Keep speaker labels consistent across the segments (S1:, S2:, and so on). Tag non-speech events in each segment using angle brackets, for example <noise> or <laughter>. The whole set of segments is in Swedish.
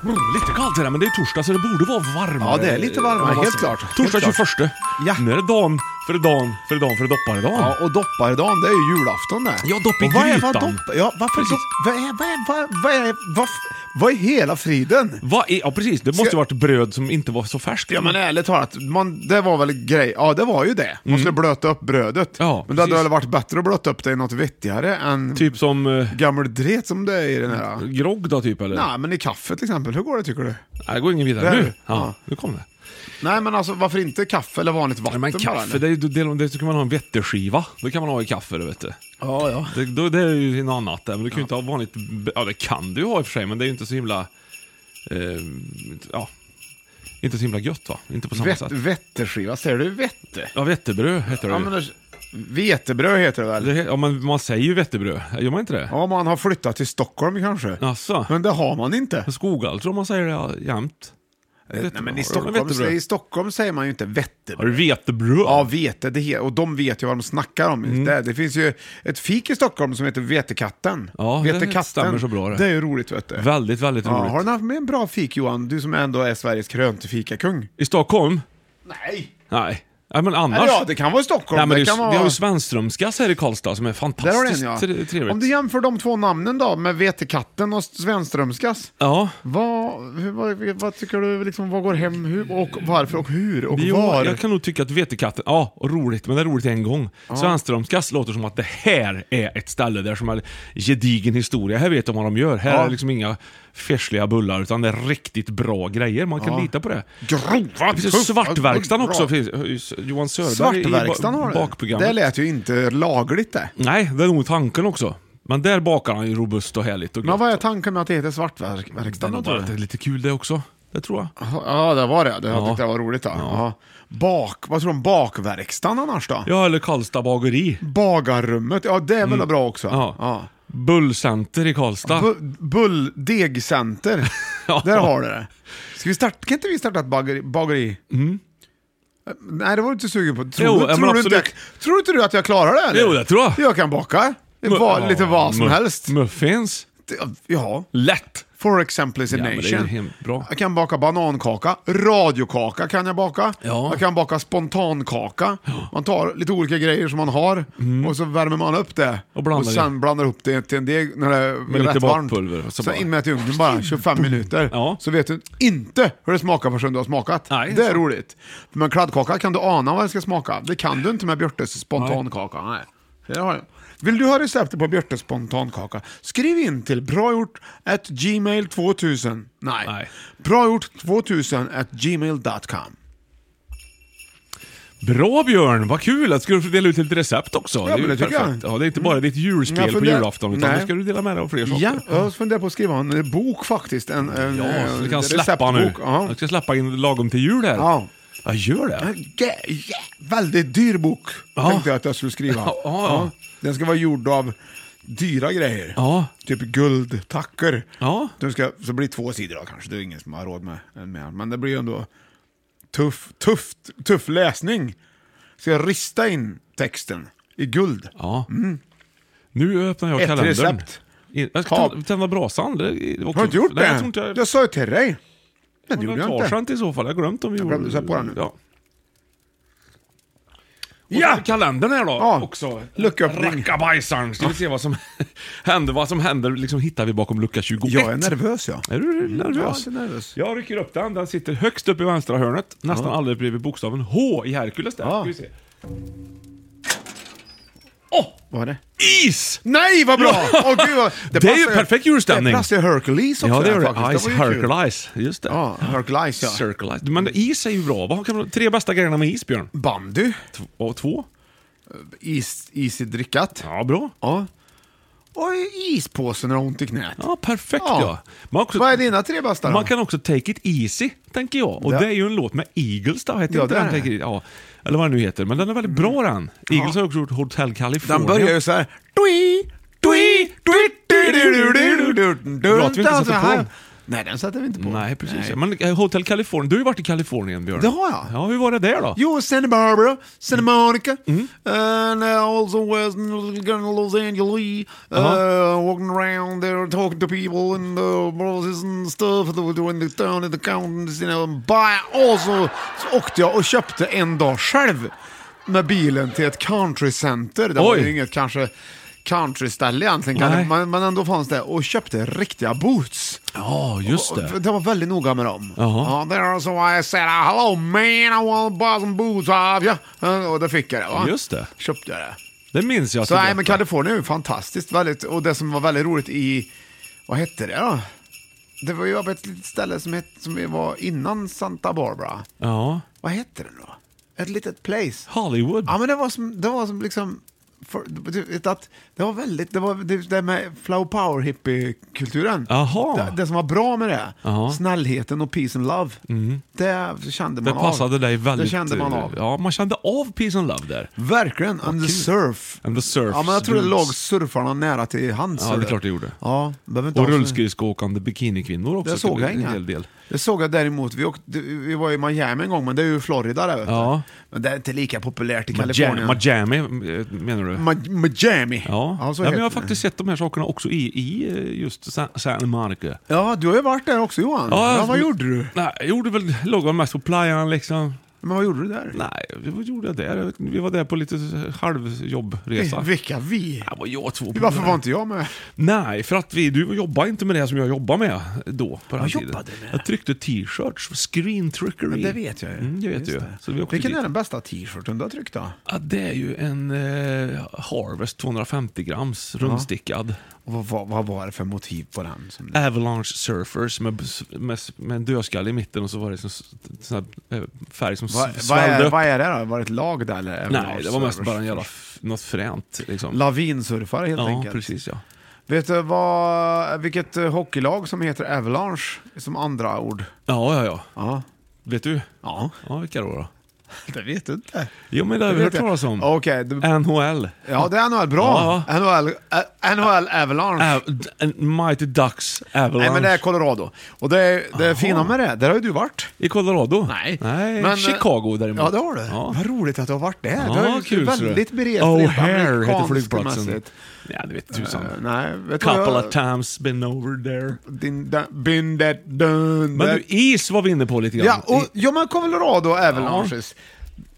S1: Brr, Lite kallt är det, men det är torsdag så det borde vara varmare.
S2: Ja, det är lite varmare,
S1: Om man
S2: helt
S1: ska-
S2: klart.
S1: Torsdag
S2: Helt klart.
S1: 21.
S2: Ja.
S1: Nu är det dan för dan för dan för dopparedan.
S2: Ja, och dopparedagen, det är ju julafton det.
S1: Ja, dopp i
S2: Och vad är- Vad,
S1: grytan.
S2: dopp, ja, varför
S1: Precis.
S2: dopp, vad, är, vad, är, vad, vad, är, vad, vad är hela friden?
S1: Vad är, ja precis, det måste ju
S2: Ska-
S1: varit bröd som inte var så färskt.
S2: Ja men ärligt talat, man, det var väl grej. Ja det var ju det. Man skulle blöta upp brödet.
S1: Mm. Ja,
S2: men det hade
S1: precis.
S2: väl varit bättre att blöta upp det i något vettigare än
S1: Typ som eh,
S2: gammal dret som det är i den här.
S1: grogg då typ eller?
S2: Nej men i kaffe till exempel, hur går det tycker du?
S1: Nej, det går ingen vidare.
S2: Där.
S1: Nu, ja,
S2: Ja.
S1: nu kom det.
S2: Nej men alltså varför inte kaffe eller vanligt vatten
S1: Nej, men
S2: bara,
S1: kaffe,
S2: eller?
S1: det, är ju- det, det, det kan man ha en vetteskiva. Det kan man ha i kaffe, det vet du.
S2: Ja ja.
S1: Det, då, det är ju något annat där, men du kan ju inte ha vanligt... Ja, det kan du ju ha i och för sig, men det är ju inte så himla... Eh, ja. Inte så himla gött va? Inte på samma
S2: Vett,
S1: sätt. Mm.
S2: vetteskiva, säger du vette?
S1: Ja, vettebröd heter det
S2: Ja
S1: ju.
S2: men det, vetebröd heter det väl?
S1: Det he- Ja, man, man säger ju vettebröd, gör man inte det?
S2: Ja man har flyttat till Stockholm kanske.
S1: Jaså?
S2: Men det har man inte.
S1: Skogal tror man säger det ja, jämt.
S2: Eh, Nej, men i,
S1: Har
S2: Stockholm,
S1: du vetebröd?
S2: i Stockholm säger man ju inte
S1: Har du
S2: vettebröd.
S1: vetebröd?
S2: Ja, vete, det he- och de vet ju vad de snackar om.
S1: Mm.
S2: just Det, det finns ju ett fik i Stockholm som heter Vetekatten.
S1: Ja, det
S2: Vetekatten.
S1: stämmer så bra det.
S2: Det är ju roligt vet du.
S1: Väldigt, väldigt
S2: ja,
S1: roligt.
S2: har du haft med en bra fik Johan? Du som ändå är Sveriges krönte fikakung.
S1: I Stockholm?
S2: Nej!
S1: Nej. Nej, men annars.
S2: Eller ja, det kan vara i Stockholm.
S1: Nej, men det
S2: det kan
S1: är, ju-
S2: vara...
S1: Vi har ju Svenströmskas här i Karlstad som är
S2: Där har du
S1: fantastiskt
S2: en, ja.
S1: tre- trevligt.
S2: Om du jämför de två namnen då, med Vetekatten och Svenströmskas.
S1: Ja.
S2: Vad, hur, vad, vad tycker du, liksom, vad går hem, hur, och varför och hur och
S1: Jo,
S2: var?
S1: jag kan nog tycka att vetekatten, ja, och roligt, men det är roligt en gång. Svenströmskas låter som att det här är ett ställe där som är gedigen historia. Här vet de vad de gör. Här
S2: Ja.
S1: är liksom inga färsliga bullar, utan det är riktigt bra grejer. Man kan lita på det.
S2: Grova
S1: Det finns Svartverkstan
S2: Bra.
S1: också. finns. Johan Söderberg
S2: Svartverkstan
S1: i
S2: har
S1: ba-
S2: det.
S1: bakprogrammet.
S2: Det lät ju inte lagligt det.
S1: Nej, det är nog tanken också. Men där bakar han ju robust och härligt och
S2: Men
S1: gott.
S2: vad är tanken med att det heter
S1: Det är
S2: Svartverkstan?
S1: nog
S2: då, Ah.
S1: bara
S2: tror
S1: att det
S2: du?
S1: är lite kul det också. Det tror jag.
S2: Ja, det var det. Jag
S1: Ja.
S2: tyckte det var roligt. Då. Ja. Bak, vad tror du om bakverkstan annars då?
S1: Ja, eller Karlstad bageri.
S2: Bagarrummet, ja det är väl bra också?
S1: Ja. Bullcenter i Karlstad.
S2: Bu- bull, degcenter.
S1: <laughs> Ja.
S2: Där har du det. Ska vi starta, kan inte vi starta ett bageri? bageri? Eh, Nej, det var du inte sugen på. Tror,
S1: Mm. Jo,
S2: du-
S1: ja, men
S2: tror, du inte,
S1: absolut.
S2: tror inte du att jag klarar det? eller?
S1: Jo, det tror jag.
S2: Jag kan baka.
S1: Ja,
S2: Var, lite vad som
S1: mu-
S2: helst.
S1: Muffins.
S2: Ja.
S1: Lätt.
S2: For example is a
S1: Ja, men det är ju
S2: nation.
S1: hem- bra.
S2: Jag kan baka banankaka, radiokaka kan jag baka.
S1: Ja.
S2: Jag kan baka spontankaka. Man tar lite olika grejer som man har och så värmer man upp det.
S1: Mm. Och blandar
S2: sen
S1: det.
S2: blandar ihop det till en deg när det är
S1: Med lite
S2: rätt varmt.
S1: bakpulver och så
S2: Sen
S1: bara-
S2: in med i ugnen
S1: <laughs>
S2: bara, 25 minuter.
S1: Ja.
S2: Så vet du inte hur det smakar förrän du har smakat.
S1: Nej,
S2: det är
S1: sant.
S2: roligt. Men kladdkaka kan du ana vad det ska smaka. Det kan du inte med Björtes spontankaka. Nej. Det har jag. Vill du ha receptet på Björtes spontankaka? Skriv in till bragjort at gmail 2000. Nej.
S1: Nej.
S2: Bragjort 2000 at gmail.com.
S1: Bra Björn, vad kul att ska du få dela ut lite recept också.
S2: men
S1: ju
S2: det tycker
S1: perfekt.
S2: jag. Mm.
S1: Ja, det är inte bara ditt julspel
S2: Jag
S1: på
S2: funderar-
S1: julafton, utan
S2: Nej.
S1: nu ska du dela med dig av fler saker.
S2: Ja, jag funderar på att skriva en eh, bok faktiskt. En, en,
S1: Ja,
S2: en
S1: så du kan släppa nu.
S2: Eh, receptbok. Ja.
S1: Jag ska släppa in lagom till jul här.
S2: Ja.
S1: Jag gör det.
S2: Ja, ja, väldigt dyr bok
S1: Ja.
S2: tänkte jag att jag skulle skriva.
S1: Ja, ja, ja.
S2: Den ska vara gjord av dyra grejer.
S1: Ja.
S2: Typ guldtackor.
S1: Ja.
S2: Den ska, så blir det två sidor då kanske, det är ingen som har råd med en mer. Men det blir ju ändå tuff, tuff, tuff läsning. Så jag rista in texten i guld.
S1: Ja. Nu öppnar jag
S2: Ett
S1: kalendern.
S2: recept.
S1: In- Jag ska
S2: Ta-
S1: tända, tända brasan. Det är också-
S2: Har du inte gjort
S1: Nej, jag
S2: det?
S1: tror inte jag...
S2: jag sa ju till dig. Men det
S1: Det
S2: gjorde
S1: gjorde
S2: jag inte.
S1: i så fall. Jag har glömt om vi gjorde...
S2: glömde sätta på den nu.
S1: Ja.
S2: Ja!
S1: Och kalendern här då
S2: Ja.
S1: också.
S2: Lucköppning.
S1: Rackabajsaren. Ska vi se vad som <laughs> händer. Vad som händer liksom hittar vi bakom lucka 21.
S2: Jag är nervös ja.
S1: Är du nervös?
S2: Ja, jag är nervös.
S1: Jag rycker upp den. Den sitter högst upp i vänstra hörnet. Nästan alldeles bredvid bokstaven H i Herkules där.
S2: Ja.
S1: Ska vi se. Åh!
S2: Vad är det?
S1: is!
S2: Nej vad bra! Åh,
S1: <laughs>
S2: gud, vad...
S1: Det är ju
S2: passar
S1: perfekt julstämning.
S2: Det passar ju Hercules också.
S1: Ja, det gör det. Ice,
S2: faktiskt. Det var ju kul.
S1: Hercules. Just det.
S2: Ja, Hercules ja.
S1: Circle Ice. Men is är ju bra. Vad kan man, tre bästa grejerna med is, Björn?
S2: Bandy.
S1: T- och två?
S2: Is, is i drickat.
S1: Ja, bra.
S2: Ja. Och ispåse när du har ont i knät.
S1: Ja, perfekt ja.
S2: Ja.
S1: Man, också,
S2: Vad är dina tre bästa då?
S1: man kan också Take It Easy, tänker jag. Och
S2: Ja.
S1: det är ju en låt med Eagles då, heter
S2: Ja,
S1: inte
S2: det
S1: den?
S2: är det.
S1: Take It, e- ja. Eller vad den nu heter. Men den är väldigt bra den. Eagles har också gjort Hotel California.
S2: Den börjar ju såhär... Tui, tui, tui, tui, du, du, du, du, du, du.
S1: Bra att vi inte satte på den.
S2: Nej, den satte vi inte på.
S1: Nej, precis. Men eh, Hotel California, du har ju varit i Kalifornien, Björn.
S2: Det har jag.
S1: Ja, Mm. hur var det där då?
S2: Jo, Santa Barbara, Santa Monica, and uh, also was going to Los Angeles, uh,
S1: Uh-huh.
S2: walking around there, talking to people and uh, bosses and stuff, and doing the town and the counties, you know, and buy. Also så åkte jag och köpte en dag själv med bilen till ett countrycenter. Det var
S1: Oj.
S2: ju inget kanske countryställe egentligen,
S1: Nej.
S2: kanske, men, men ändå fanns det. Och köpte riktiga boots.
S1: Ja, just
S2: För
S1: det.
S2: De var väldigt noga med dem.
S1: Jaha.
S2: Ja, there so I said uh, hello man, I want to buy some boots off you. Ja, Eh, Och då fick jag det. Va?
S1: Just det.
S2: Köpte jag det.
S1: Det minns jag.
S2: Så
S1: till
S2: nej, men
S1: detta.
S2: Kalifornien är ju fantastiskt. Väldigt, och det som var väldigt roligt i, vad hette det då? Det var ju på ett litet ställe som, het, som var innan Santa Barbara.
S1: Ja.
S2: Vad hette det då? Ett litet place.
S1: Hollywood.
S2: Ja, men det var som, det var som liksom... För, du vet att det var väldigt, det var det, det med flow power hippie-kulturen.
S1: Jaha.
S2: Det, det som var bra med det,
S1: Jaha. Mhm.
S2: snällheten och peace and love, det kände
S1: Det
S2: man av.
S1: passade dig väldigt... eh,
S2: Det kände man av.
S1: Ja, man kände av Peace and Love där.
S2: Verkligen, and the surf.
S1: And the surf.
S2: Ja, men jag tror det
S1: dudes.
S2: låg surfarna nära till hands.
S1: Ja, det är
S2: hörde.
S1: klart det gjorde.
S2: Ja, behöver inte
S1: Och
S2: ha så-
S1: rullskridskoåkande bikinikvinnor också.
S2: Det såg jag
S1: en
S2: inga.
S1: hel del.
S2: Det såg jag däremot. Vi, åkte, vi var i Miami en gång, men det är ju Florida där. Vet du.
S1: Ja.
S2: Men det är inte lika populärt i
S1: Miami,
S2: Kalifornien.
S1: Miami eh, menar du?
S2: Ma- Miami.
S1: Ja, ja,
S2: så
S1: men
S2: heter
S1: jag har
S2: det.
S1: faktiskt sett de här sakerna också i, i eh, just Sa- San Marco.
S2: Ja, du har ju varit där också Johan. Ja, vad gjorde du?
S1: Nej, jag gjorde väl, låg väl mest på playan liksom.
S2: Men vad gjorde du där?
S1: Nej, vad gjorde jag där? Jag vet inte, Vi var där på lite halvjobbresa.
S2: Vilka vi?
S1: Ja, var jag två
S2: Varför var inte jag med?
S1: Nej, för att vi, du jobbade inte med det som jag jobbade med då. På den
S2: Vad
S1: tiden.
S2: jobbade du med?
S1: Jag tryckte t-shirts, screen trickery.
S2: jag ju.
S1: Mm, det vet
S2: Just
S1: jag ju.
S2: det.
S1: Så vi åkte
S2: Vilken
S1: dit.
S2: är den bästa t-shirten du har tryckt då?
S1: Ja, det är ju en eh, Harvest 250 grams rundstickad.
S2: Och vad, vad, vad var det för motiv på den? Som
S1: Avalanche Surfers med, med, med en dödskalle i mitten och så var det sån, sån här eh, färg som
S2: Va,
S1: va,
S2: vad,
S1: svällde
S2: är,
S1: upp.
S2: vad är det då? Var det ett lag där? Eller?
S1: Nej, det var mest bara en jävla f- något fränt liksom.
S2: Lavinsurfare helt
S1: ja,
S2: enkelt.
S1: precis ja.
S2: Vet du vad, vilket eh, hockeylag som heter Avalanche som andra ord?
S1: Ja, ja, ja.
S2: Ja.
S1: Vet du?
S2: Ja. <laughs>
S1: Ja, vilka då? då?
S2: Det vet du inte.
S1: Jo, men det har vi hört
S2: vet jag.
S1: talas om.
S2: Okej, du-
S1: NHL.
S2: Ja, det är NHL. Bra!
S1: Ja.
S2: NHL, eh, NHL Avalanche.
S1: Av- en Mighty Ducks Avalanche.
S2: Nej, men det är Colorado. Och det, är, det är fina med det, där har ju du varit.
S1: I Colorado?
S2: Men, eh,
S1: men, Chicago däremot.
S2: Ja, det har du.
S1: Ja.
S2: Vad roligt att du har varit där.
S1: Ja,
S2: det är ju
S1: kul, ser du.
S2: väldigt berest.
S1: O'Hare heter flygplatsen. Ja, det vet tusan.
S2: Nej, vet du vad
S1: Couple
S2: Eh, jag-
S1: of times been over there.
S2: Din, da, bin, that, dun,
S1: Men
S2: that.
S1: du, is var vi inne på lite grann.
S2: Ja, och, ja, men Colorado Avalanches.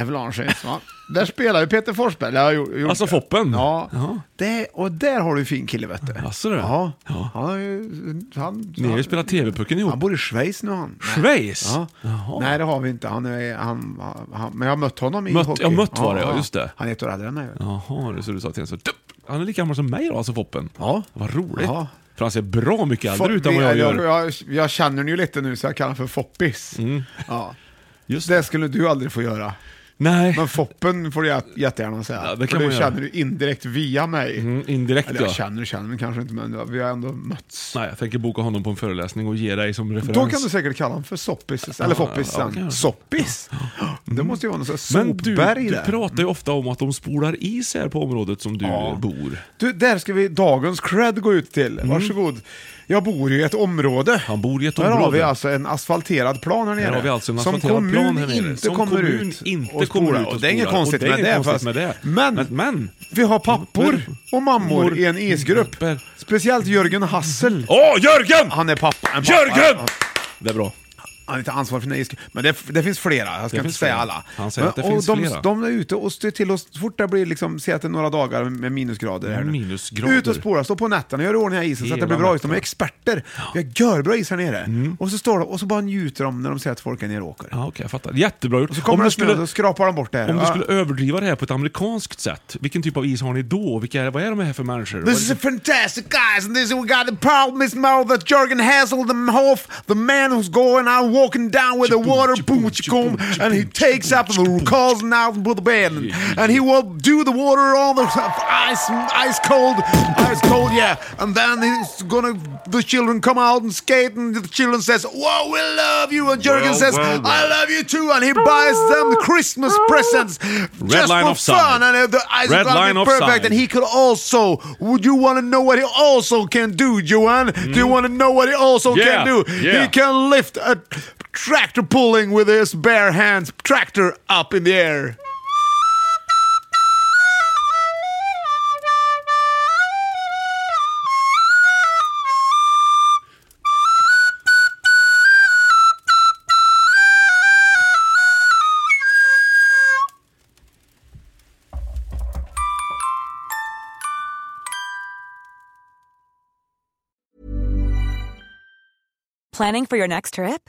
S2: Avalanches, va? Där spelar ju Peter Forsberg. Jag har gjort, gjort
S1: Alltså
S2: det.
S1: Foppen?
S2: Ja.
S1: Jaha.
S2: Det, och där har du en fin kille, vet du.
S1: Jaså du?
S2: Ja.
S1: Ja.
S2: Han, har ju- han,
S1: Ni har ju
S2: han,
S1: spelat TV-pucken
S2: Han
S1: ihop.
S2: bor i Schweiz nu han.
S1: Schweiz?
S2: Ja.
S1: Jaha.
S2: Nej det har vi inte. Han är, han, han, men jag har mött honom i
S1: Mött-
S2: hockey.
S1: ja, mött var det, ja, just det.
S2: Han är ett år äldre än mig. vet du.
S1: Jaha, det är så du sa till honom. så, "Dupp!" Han är lika gammal som mig då, alltså Foppen?
S2: Ja.
S1: Vad roligt.
S2: Ja.
S1: För han ser bra mycket
S2: Fo-
S1: äldre ut än
S2: vi-
S1: vad jag
S2: jag,
S1: gör. Mm.
S2: jag, jag känner honom ju lite nu så jag kallar honom för Foppis. Ja.
S1: Just
S2: Det skulle du aldrig få göra.
S1: Nej.
S2: Men Foppen får jag jättegärna säga.
S1: Ja, det kan
S2: För
S1: man
S2: det
S1: göra.
S2: känner du indirekt via mig.
S1: Mm, indirekt
S2: Eller
S1: ja.
S2: jag känner och känner men kanske inte men vi har ändå mötts.
S1: Nej, jag tänker boka honom på en föreläsning och ge dig som referens.
S2: Då kan du säkert kalla honom för Soppis, eller Foppis
S1: ja, kan
S2: sen.
S1: jag. Mm.
S2: Soppis? Det måste ju vara något sånt
S1: Men du,
S2: sopberg
S1: du
S2: där.
S1: pratar ju ofta om att de spolar is här på området som du
S2: Ja.
S1: bor.
S2: Du, där ska vi dagens cred gå ut till. Varsågod. Jag bor ju i ett område.
S1: Mm. Han bor i ett
S2: Här har
S1: område.
S2: vi alltså en asfalterad plan här nere.
S1: Här har vi alltså en
S2: som
S1: asfalterad
S2: kommun
S1: plan här nere.
S2: inte
S1: Som
S2: kommer
S1: kommun
S2: ut
S1: inte
S2: och
S1: kommer
S2: spolar.
S1: ut och
S2: Och det är inget
S1: spolar.
S2: konstigt,
S1: Och det är
S2: med,
S1: inget
S2: det,
S1: konstigt
S2: fast-
S1: med det.
S2: Men,
S1: Men- men-
S2: vi har pappor och mammor i en isgrupp.
S1: Grupper.
S2: Speciellt Jörgen Hassel.
S1: Åh, Jörgen!
S2: Han är pappa. en pappa-
S1: Jörgen! Det är bra.
S2: han är inte ansvarig för Neisk, men det, det finns flera. Jag ska
S1: Det
S2: inte
S1: finns
S2: säga
S1: flera.
S2: alla.
S1: Han säger
S2: men,
S1: att det
S2: och
S1: finns
S2: de,
S1: flera.
S2: De är ute och styr till och så fort det blir liksom, se att det är några dagar med minusgrader här nu.
S1: Minusgrader.
S2: Ut och spåra, stå på nätterna, gör i ordning här isen så att
S1: Hela
S2: det blir bra is.
S1: natten. Mm.
S2: De är experter. Vi har görbra is här nere. Och så står de och så bara njuter de när de ser att folk är nere och åker.
S1: Ja, okej, jag fattar. Jättebra gjort.
S2: Och så kommer
S1: du
S2: det snö, då skrapar de bort det här.
S1: Om du
S2: Ja.
S1: skulle överdriva det här på ett amerikanskt sätt, vilken typ av is har ni då? Vilka är, vad är de här för människor? Vad är
S2: This is a fantastic guys, and this we got the problem is more that Jürgen Hassel, the Hof, the man who's going out walking down with a
S1: Chiboom,
S2: water
S1: chiboom,
S2: boom chiboom,
S1: chiboom,
S2: and he
S1: chiboom,
S2: takes up
S1: chiboom,
S2: the calls and out with the bed, and,
S1: Yeah.
S2: and he will do the water on the ice, ice cold, ice cold, yeah, and then he's gonna the children come out and skate, and the children says, "Whoa, we love you," and Jürgen
S1: Well,
S2: says,
S1: well, well.
S2: "I love you too," and he buys them the Christmas presents just
S1: line
S2: for
S1: offside.
S2: fun, and uh, the ice
S1: Red
S2: is gonna
S1: line
S2: be perfect,
S1: offside.
S2: and he could also. Would you want to know what he also can do, Joanne? Do you want to know what he also
S1: Mm. Yeah,
S2: can do?
S1: yeah.
S2: He can lift a tractor pulling with his bare hands, tractor up in the air.
S3: Planning for your next trip?